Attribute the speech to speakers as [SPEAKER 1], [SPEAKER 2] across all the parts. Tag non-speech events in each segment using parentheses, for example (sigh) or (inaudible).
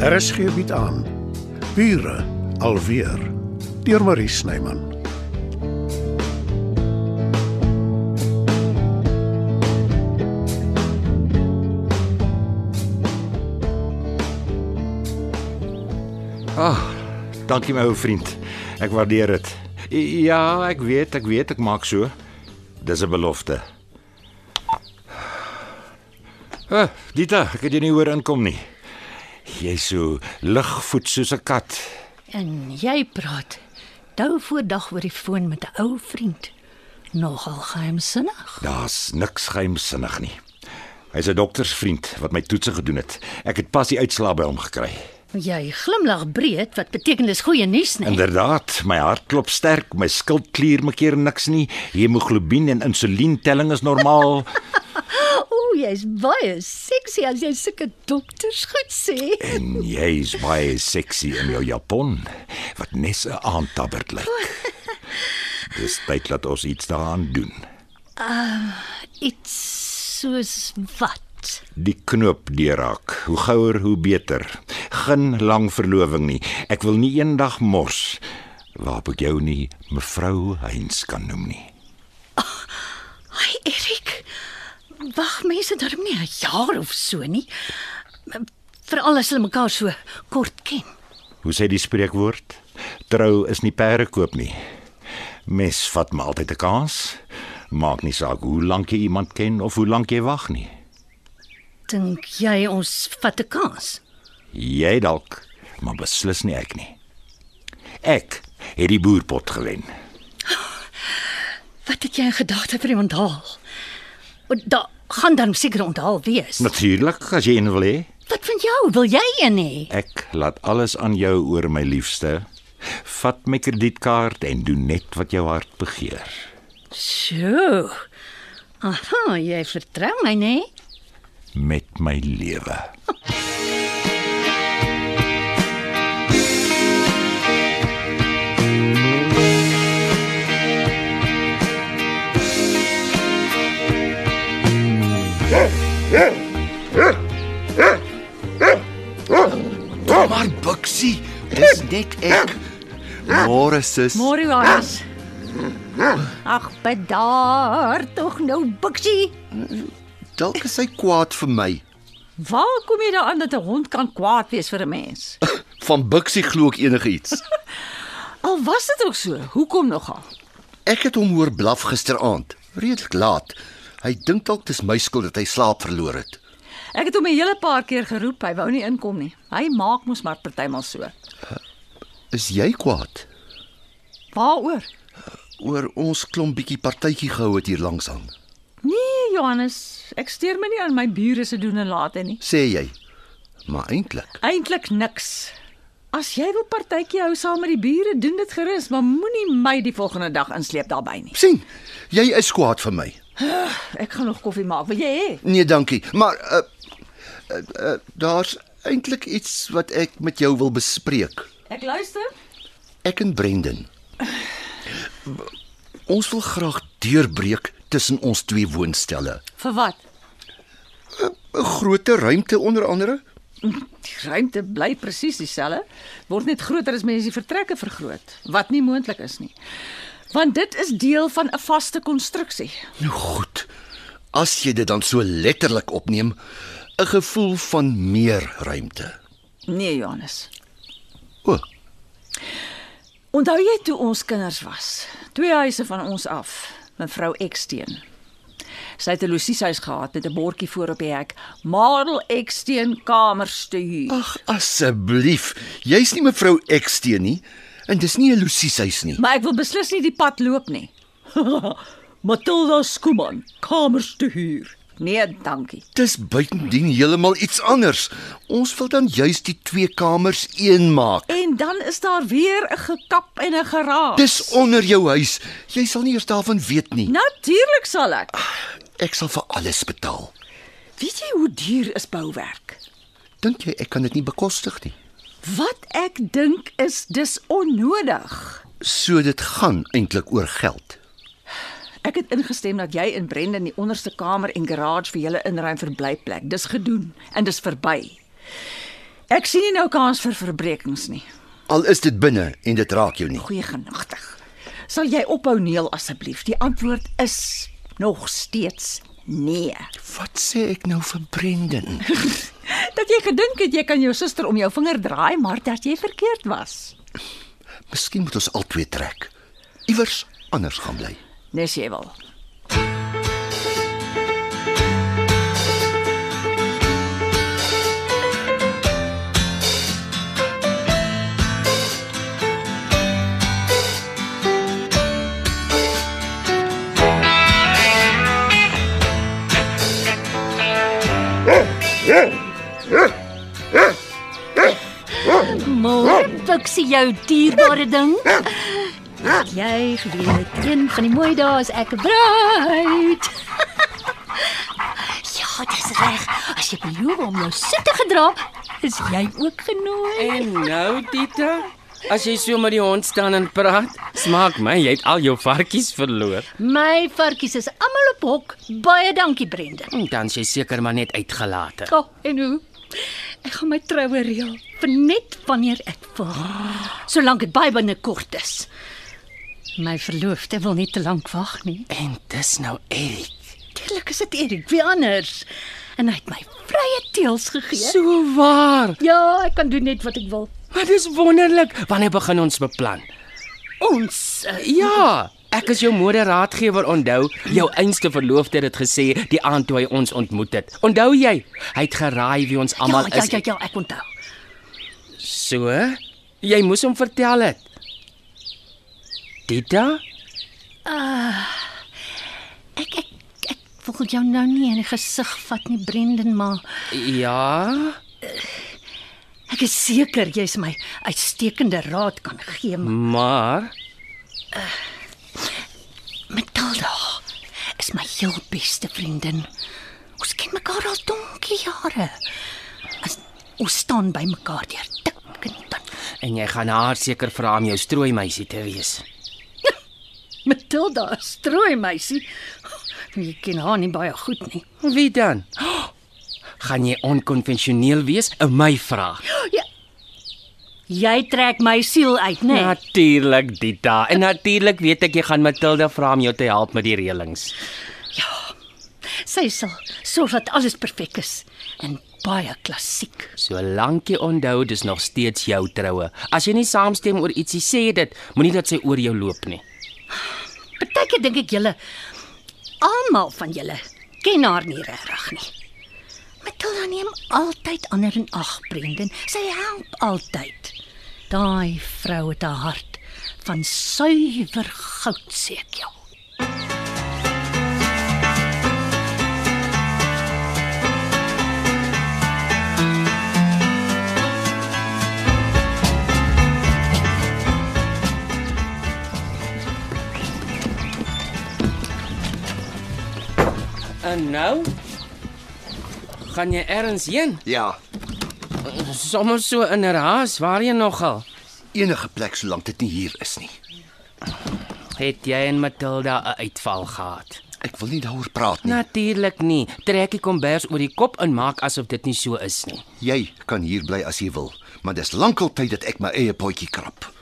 [SPEAKER 1] RSG bied Er aan. Bure alweer deur Marie Snyman.
[SPEAKER 2] Ag, dankie my ou vriend. Ek waardeer dit. I- Ja, ek weet, ek weet ek maak so. Dis 'n belofte. Ah, Dita, ek het jou nie hoor inkom nie. Jy's so ligvoet soos 'n kat.
[SPEAKER 3] En jy praat dou voor dag oor die foon met 'n ou vriend. Nogal geheimsinnig.
[SPEAKER 2] Daar's niks geheimsinnig nie. Hy's 'n doktersvriend wat my toetse gedoen het. Ek het pas die uitslae by hom gekry.
[SPEAKER 3] Jy glimlag breed, wat beteken dis goeie nuus nee. nie.
[SPEAKER 2] Inderdaad, my hart klop sterk, my skildklier maak keer niks nie. Hemoglobien en insulientelling is normaal.
[SPEAKER 3] O, jy's baie sexy as jy sulke dokters goed sê.
[SPEAKER 2] En jy's baie sexy in jou japon wat nes 'n aandtabberd lyk. Dis tyd dat ons iets daaraan doen.
[SPEAKER 3] Iets soos wat?
[SPEAKER 2] Die knoop deurraak. Hoe gouer hoe beter. Geen lang verloving nie. Ek wil nie eendag mors waarop ek jou nie mevrou Heinz kan noem nie.
[SPEAKER 3] Ai, Erik. Wag, mense daar nie 'n jaar of so nie. Veral as hulle mekaar so kort ken.
[SPEAKER 2] Hoe sê die spreekwoord? Trou is nie perde koop nie. Mes vat maar altyd 'n kans. Maak nie saak hoe lank jy iemand ken of hoe lank jy wag nie.
[SPEAKER 3] Dink jy ons vat 'n kans?
[SPEAKER 2] Jy dalk, maar beslis nie ek nie. Ek het die boerpot gewen.
[SPEAKER 3] Wat het jy in gedagte vir die onthaal? Want Daar gaan dan seker 'n onthaal wees.
[SPEAKER 2] Natuurlik, as jy een wil hê.
[SPEAKER 3] Wat van jou? Wil jy een hê?
[SPEAKER 2] Ek laat alles aan jou oor my liefste. Vat my kredietkaart en doen net wat jou hart begeer.
[SPEAKER 3] So. Aha, jy vertrou my, né? Nee?
[SPEAKER 2] Met my lewe.
[SPEAKER 4] Maar Buxie, dis net ek. Môre sis.
[SPEAKER 3] Môre Johannes. Ag, bedaar tog nou, Bixie.
[SPEAKER 4] Dalk is hy kwaad vir my.
[SPEAKER 5] Waar kom jy daaraan dat 'n hond kan kwaad wees vir 'n mens?
[SPEAKER 4] Van Buxie glo ek enigiets.
[SPEAKER 5] Al was dit ook so, hoekom nogal?
[SPEAKER 4] Ek het hom hoor blaf gisteraand, redelik laat. Hy dink dalk dis my skuld dat hy slaap verloor het.
[SPEAKER 5] Ek het hom 'n hele paar keer geroep, hy wou nie inkom nie. Hy maak mos maar partymal so.
[SPEAKER 4] Is jy kwaad
[SPEAKER 5] Waaroor?
[SPEAKER 4] oor ons klomp bietjie partytjie gehou het hier langs aan?
[SPEAKER 5] Nee, Johannes, ek steur my nie aan my bure se doen en late nie.
[SPEAKER 4] Sê jy? Maar eintlik,
[SPEAKER 5] Eintlik niks. As jy wil partytjie hou saam met die bure, doen dit gerus, maar moenie my die volgende dag insleep daarbey nie.
[SPEAKER 4] sien, jy is kwaad vir my.
[SPEAKER 5] Ek gaan nog koffie maak, wil jy hê?
[SPEAKER 4] Nee, dankie, maar uh, uh, uh, daar's eintlik iets wat ek met jou wil bespreek.
[SPEAKER 5] Ek luister.
[SPEAKER 4] Ek en Brendan. W- Ons wil graag deurbreek tussen ons twee woonstelle.
[SPEAKER 5] Vir wat?
[SPEAKER 4] 'n Groter ruimte onder andere.
[SPEAKER 5] Die ruimte bly presies dieselfde, word net groter as mense die vertrekke vergroot, wat nie moontlik is nie. Want dit is deel van 'n vaste konstruksie.
[SPEAKER 4] Nou goed. As jy dit dan so letterlik opneem, 'n gevoel van meer ruimte.
[SPEAKER 5] Nee, Johannes.
[SPEAKER 4] O, oh,
[SPEAKER 5] Onthou jy toe ons kinders was? Twee huise van ons af, mevrou Eksteen. Sy het 'n losieshuis gehad met 'n bordjie voor op die hek: "Madel Eksteen kamers te huur."
[SPEAKER 4] ag asseblief, jy's nie mevrou Eksteen nie en dis nie 'n Lucieshuis nie.
[SPEAKER 5] Maar ek wil beslis nie die pad loop nie. (laughs) Matilda Skuman, kamers te huur. Nee, dankie.
[SPEAKER 4] Dis buitendien heeltemal iets anders. Ons wil dan juis die twee kamers een maak.
[SPEAKER 5] En dan is daar weer 'n gekap en 'n geraas.
[SPEAKER 4] Dis onder jou huis. Jy sal nie eers daarvan weet nie.
[SPEAKER 5] Natuurlik sal ek.
[SPEAKER 4] Ek sal vir alles betaal.
[SPEAKER 5] Weet jy hoe duur is bouwerk?
[SPEAKER 4] Dink jy ek kan dit nie bekostig nie?
[SPEAKER 5] Wat ek dink is dis onnodig.
[SPEAKER 4] So dit gaan eintlik oor geld.
[SPEAKER 5] Ek het ingestem dat jy en Brendan die onderste kamer en garage vir julle inruim vir blyplek. Dis gedoen en dis verby. Ek sien nie nou kans vir verbrekings nie.
[SPEAKER 4] Al is dit binne en dit raak jou nie.
[SPEAKER 5] Goeie genigtig. Sal jy ophou neel asseblief? Die antwoord is nog steeds nee.
[SPEAKER 4] Wat sê ek nou vir Brendan?
[SPEAKER 5] Dat jy gedink het jy kan jou suster om jou vinger draai, maar dat jy verkeerd was.
[SPEAKER 4] (laughs) Miskien moet ons albei trek. Iewers anders gaan bly.
[SPEAKER 5] Dis jy wil.
[SPEAKER 3] Môre fiksie jou dierbare ding. Het Jy geweet, een van die mooi dae is ek 'n bruid. ja, dis reg. As jy beloof om jou soet te gedra, is jy ook genooi.
[SPEAKER 6] En nou, Tita, as jy so met die hond staan en praat, smaak my jy het al jou varkies verloor.
[SPEAKER 3] My varkies is almal op hok. Baie dankie, Brendan.
[SPEAKER 6] En Hm, Dan is jy seker maar net uitgelate.
[SPEAKER 3] Ja, en hoe? Ek gaan my troue reël vir net wanneer ek wil. Solank dit baie binnekort is. My verloofde wil nie te lank wag nie.
[SPEAKER 6] En dis nou Erik.
[SPEAKER 3] Tuurlik is dit Erik, wie anders? En hy het my vrye teels gegee. So.
[SPEAKER 6] So waar.
[SPEAKER 3] Ja, ek kan doen net wat ek wil.
[SPEAKER 6] Maar dis wonderlik. Wanneer begin ons beplan?
[SPEAKER 3] Ons uh,
[SPEAKER 6] Ja, ek is jou moderaadgewer onthou. Jou einste verloofde het dit gesê die aand toe hy ons ontmoet het. Onthou jy? Hy het geraai wie ons
[SPEAKER 3] ja,
[SPEAKER 6] almal
[SPEAKER 3] ja,
[SPEAKER 6] is.
[SPEAKER 3] ja, ja, ek onthou.
[SPEAKER 6] So, jy moes hom vertel het. Tita?
[SPEAKER 3] Ek ek ek wil jou nou nie in die gesig vat nie, Brendan, maar
[SPEAKER 6] Ja.
[SPEAKER 3] ek is seker jy's my uitstekende raad kan gee. maar
[SPEAKER 6] Maar
[SPEAKER 3] Matilda is my heel beste vriendin. Ons ken mekaar al donkie jare. As, ons staan by mekaar deur dik en dun.
[SPEAKER 6] en jy gaan haar seker vra om jou strooi meisie te wees.
[SPEAKER 3] Matilda, strooi meisie. Jy ken haar nie baie goed nie.
[SPEAKER 6] Wie dan? (gasps) Gaan jy onkonvensioneel wees? 'n My vraag.
[SPEAKER 3] Jy trek my siel uit, né? Nee?
[SPEAKER 6] Natuurlik, Dita. En natuurlik weet ek jy gaan Matilda vra om jou te help met die reëlings.
[SPEAKER 3] Sy sal sorg dat alles perfek is en baie klassiek.
[SPEAKER 6] Solank jy onthou dis nog steeds jou troue. As jy nie saamstem oor ietsie sê dit, moenie dat sy oor jou loop nie.
[SPEAKER 3] Partykeer dink ek julle almal van julle ken haar nie regtig nie. Matilda neem altyd ander in ag, Brendan. Sy help altyd. Daai vrou het 'n hart van suiwer goud, sê ek jou.
[SPEAKER 6] En nou gaan jy ergens heen?
[SPEAKER 4] Ja,
[SPEAKER 6] Sommers so in 'n haas, waar jy nogal?
[SPEAKER 4] enige plek solank dit nie hier is nie.
[SPEAKER 6] Het jy en Matilda 'n uitval gehad?
[SPEAKER 4] Ek wil nie daaroor praat nie.
[SPEAKER 6] Natuurlik nie. Trek die kombers oor die kop en maak asof dit nie so is nie.
[SPEAKER 4] Jy kan hier bly as jy wil, maar dis lankal tyd dat ek my eie potjie krap.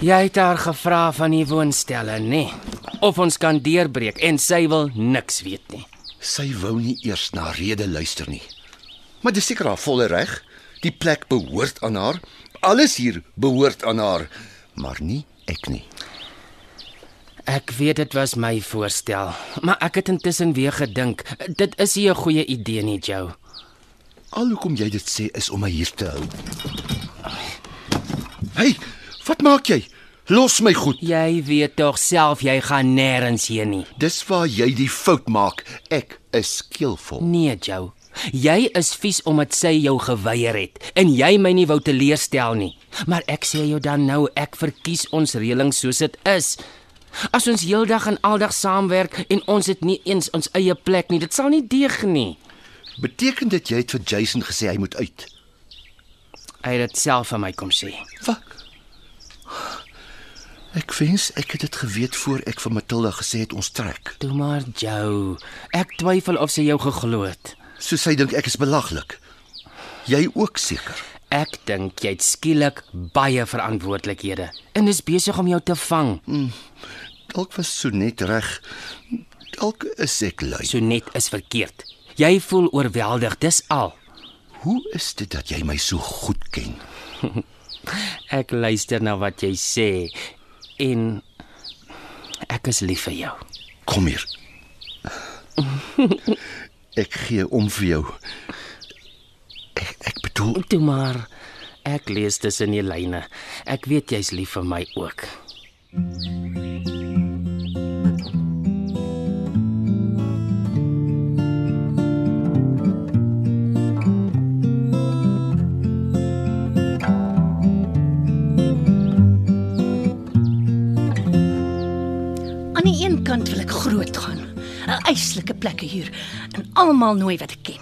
[SPEAKER 6] Jy het haar gevra van die woonstelle, nê? Of ons kan deurbreek en sy wil niks weet nie.
[SPEAKER 4] Sy wou nie eers na rede luister nie. Maar dis seker haar volle reg. Die plek behoort aan haar. Alles hier behoort aan haar, maar nie ek nie.
[SPEAKER 6] Ek weet dit was my voorstel, maar ek het intussen weer gedink, dit is nie 'n goeie idee nie, Joe.
[SPEAKER 4] Al hoekom jy dit sê is om my hier te hou. Hey, wat maak jy? Los my goed.
[SPEAKER 6] Jy weet tog self jy gaan nêrens heen nie.
[SPEAKER 4] Dis waar jy die fout maak. Ek is skeelvol.
[SPEAKER 6] Nee, Joe. Jy is vies omdat sy jou geweier het en jy my nie wou teleurstel nie. Maar ek sê jou dan nou, ek verkies ons reëling soos dit is. As ons heeldag en aldag saamwerk en ons het nie eens ons eie plek nie, dit sal nie deeg nie.
[SPEAKER 4] Beteken dit jy het vir Jason gesê hy moet uit?
[SPEAKER 6] Hy het dit self aan my kom sê.
[SPEAKER 4] Wat? Ek wens ek het dit geweet voor ek vir Matilda gesê het ons trek.
[SPEAKER 6] Toe maar, Joe. Ek twyfel of sy jou geglo het.
[SPEAKER 4] Soos sy dink ek is belaglik. Jy ook seker.
[SPEAKER 6] Ek dink jy het skielik baie verantwoordelikhede en is besig om jou te vang.
[SPEAKER 4] Dalk was Sonet reg. Dalk is ek lui.
[SPEAKER 6] So net is verkeerd. Jy voel oorweldig, dis al.
[SPEAKER 4] Hoe is dit dat jy my so goed ken?
[SPEAKER 6] Ek luister na wat jy sê en ek is lief vir jou.
[SPEAKER 4] Kom hier. Ek gee om vir jou. Ek, ek bedoel,
[SPEAKER 6] Toe maar ek lees tussen die lyne. Ek weet jy's lief vir my ook.
[SPEAKER 3] Aan die een kant wil ek groot gaan, 'n eislike plekke huur en almal nooi wat ek ken.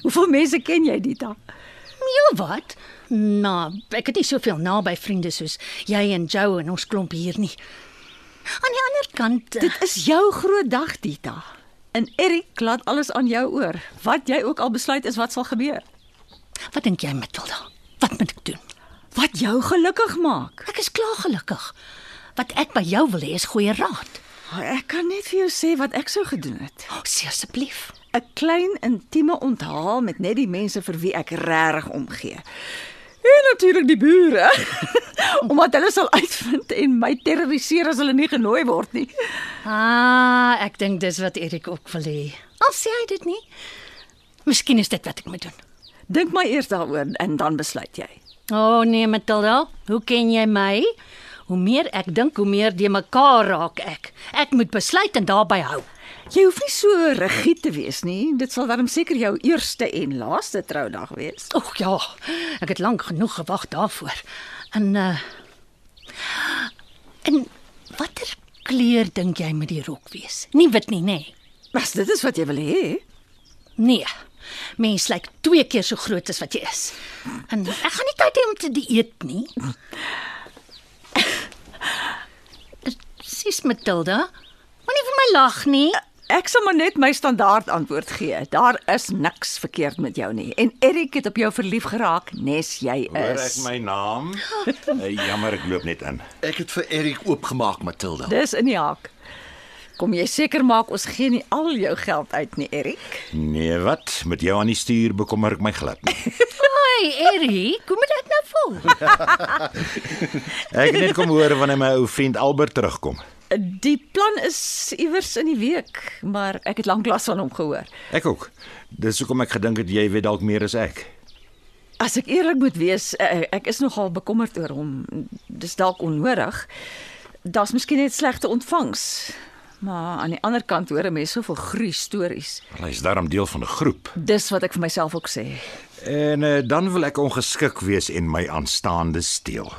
[SPEAKER 5] Hoeveel mense ken jy, Dita?
[SPEAKER 3] Heel Ja, wat? Nou, ek het nie soveel naby vriende soos jy en Joe en ons klomp hier nie. Aan die ander kant, eh,
[SPEAKER 5] Dit is jou groot dag, Dita. En Erik laat alles aan jou oor. Wat jy ook al besluit is wat sal gebeur.
[SPEAKER 3] wat dink jy, Matilda? Wat moet ek doen?
[SPEAKER 5] Wat jou gelukkig maak.
[SPEAKER 3] Ek is klaar gelukkig. Wat ek by jou wil hê is goeie raad.
[SPEAKER 5] Ek kan net vir jou sê wat ek sou gedoen het.
[SPEAKER 3] Oh, sê asseblief.
[SPEAKER 5] 'n klein intieme onthaal met net die mense vir wie ek regtig omgee. En natuurlik die bure. (laughs) Omdat hulle sal uitvind en my terroriseer as hulle nie genooi word nie.
[SPEAKER 3] Ah, ek dink dis wat Erik ook wil hê. Al sê hy dit nie. Miskien is dit wat ek moet doen.
[SPEAKER 5] Dink maar eers daaroor en dan besluit jy.
[SPEAKER 3] O oh, nee, Matilda, hoe ken jy my? Hoe meer ek dink, hoe meer de mekaar raak ek. Ek moet besluit en daarby hou.
[SPEAKER 5] Jy hoef nie so rigied te wees nie. Dit sal darm seker jou eerste en laaste troudag wees.
[SPEAKER 3] O oh, ja, ek het lank genoeg gewag daarvoor. En uh En watter kleur dink jy moet die rok wees? Nie wit nie, nê? Nee.
[SPEAKER 5] Mas dit is wat jy wil hê.
[SPEAKER 3] Nee. Mens lyk twee keer so groot as wat jy is. En ek gaan nie tyd hê om te dieet nie. Sis Matilda, moenie vir my lag nie.
[SPEAKER 5] Ek sal maar net my standaard antwoord gee. Daar is niks verkeerd met jou nie. En Erik het op jou verlief geraak, nes jy
[SPEAKER 2] Hoor
[SPEAKER 5] is.
[SPEAKER 2] ek my naam? (laughs) Eh, Jammer, ek loop net in.
[SPEAKER 4] ek het vir Erik oopgemaak, Matilda.
[SPEAKER 5] Dis in die hak. Kom jy seker maak ons gee nie al jou geld uit nie, Erik?
[SPEAKER 2] Nee, wat? Met jou aan die stuur bekommer ek my glad nie.
[SPEAKER 3] Hi, Erik, hoe moet ek nou voel?
[SPEAKER 2] Ek het net kom hoor wanneer my ou vriend Albert terugkom.
[SPEAKER 5] (laughs) Die plan is iewers in die week, maar ek het lanklaas van hom gehoor.
[SPEAKER 2] Ek ook. Dis hoekom ek gedink het jy weet dalk meer as ek.
[SPEAKER 5] As ek eerlik moet wees, eh, ek is nogal bekommerd oor hom. Dis dalk onnodig. Daar's miskien net slegte ontvangs. Maar aan die ander kant hoor 'n mens soveel gruie stories.
[SPEAKER 2] Hy's daarom deel van 'n groep.
[SPEAKER 5] Dis wat ek vir myself ook sê.
[SPEAKER 2] En uh, dan wil ek ongeskik wees en my aanstaande steel.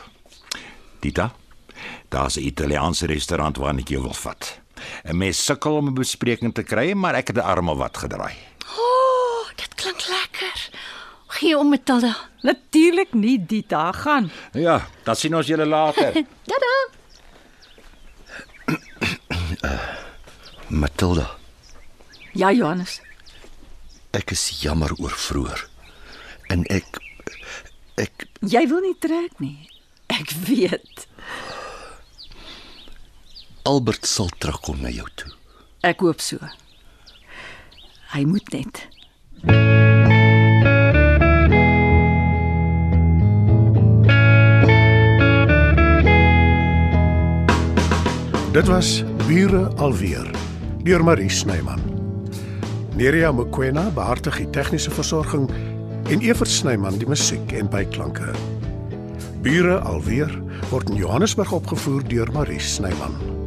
[SPEAKER 2] Dita, daar's 'n Italiaanse restaurant waarna ek jou wil vat. 'n Mens sukkel om 'n bespreking te kry, maar ek het 'n arm of wat gedraai.
[SPEAKER 3] Oh, dit klink lekker. Gee om Matilda.
[SPEAKER 5] Natuurlik nie die dag gaan.
[SPEAKER 2] Ja, dan sien ons julle later.
[SPEAKER 3] Tada.
[SPEAKER 4] Matilda,
[SPEAKER 5] Ja, Johannes.
[SPEAKER 4] ek is jammer oor vroeër. En ek ek
[SPEAKER 5] Jy wil nie trek nie. Ek weet.
[SPEAKER 4] Albert sal terugkom na jou toe.
[SPEAKER 5] Ek hoop so. Hy moet net.
[SPEAKER 1] Dit was Bure alweer deur Marie Snyman. Neriya Mkwena behartig die tegniese versorging en Evert Snyman die musiek en byklanke. Bure alweer word in Johannesburg opgevoer deur Marie Snyman.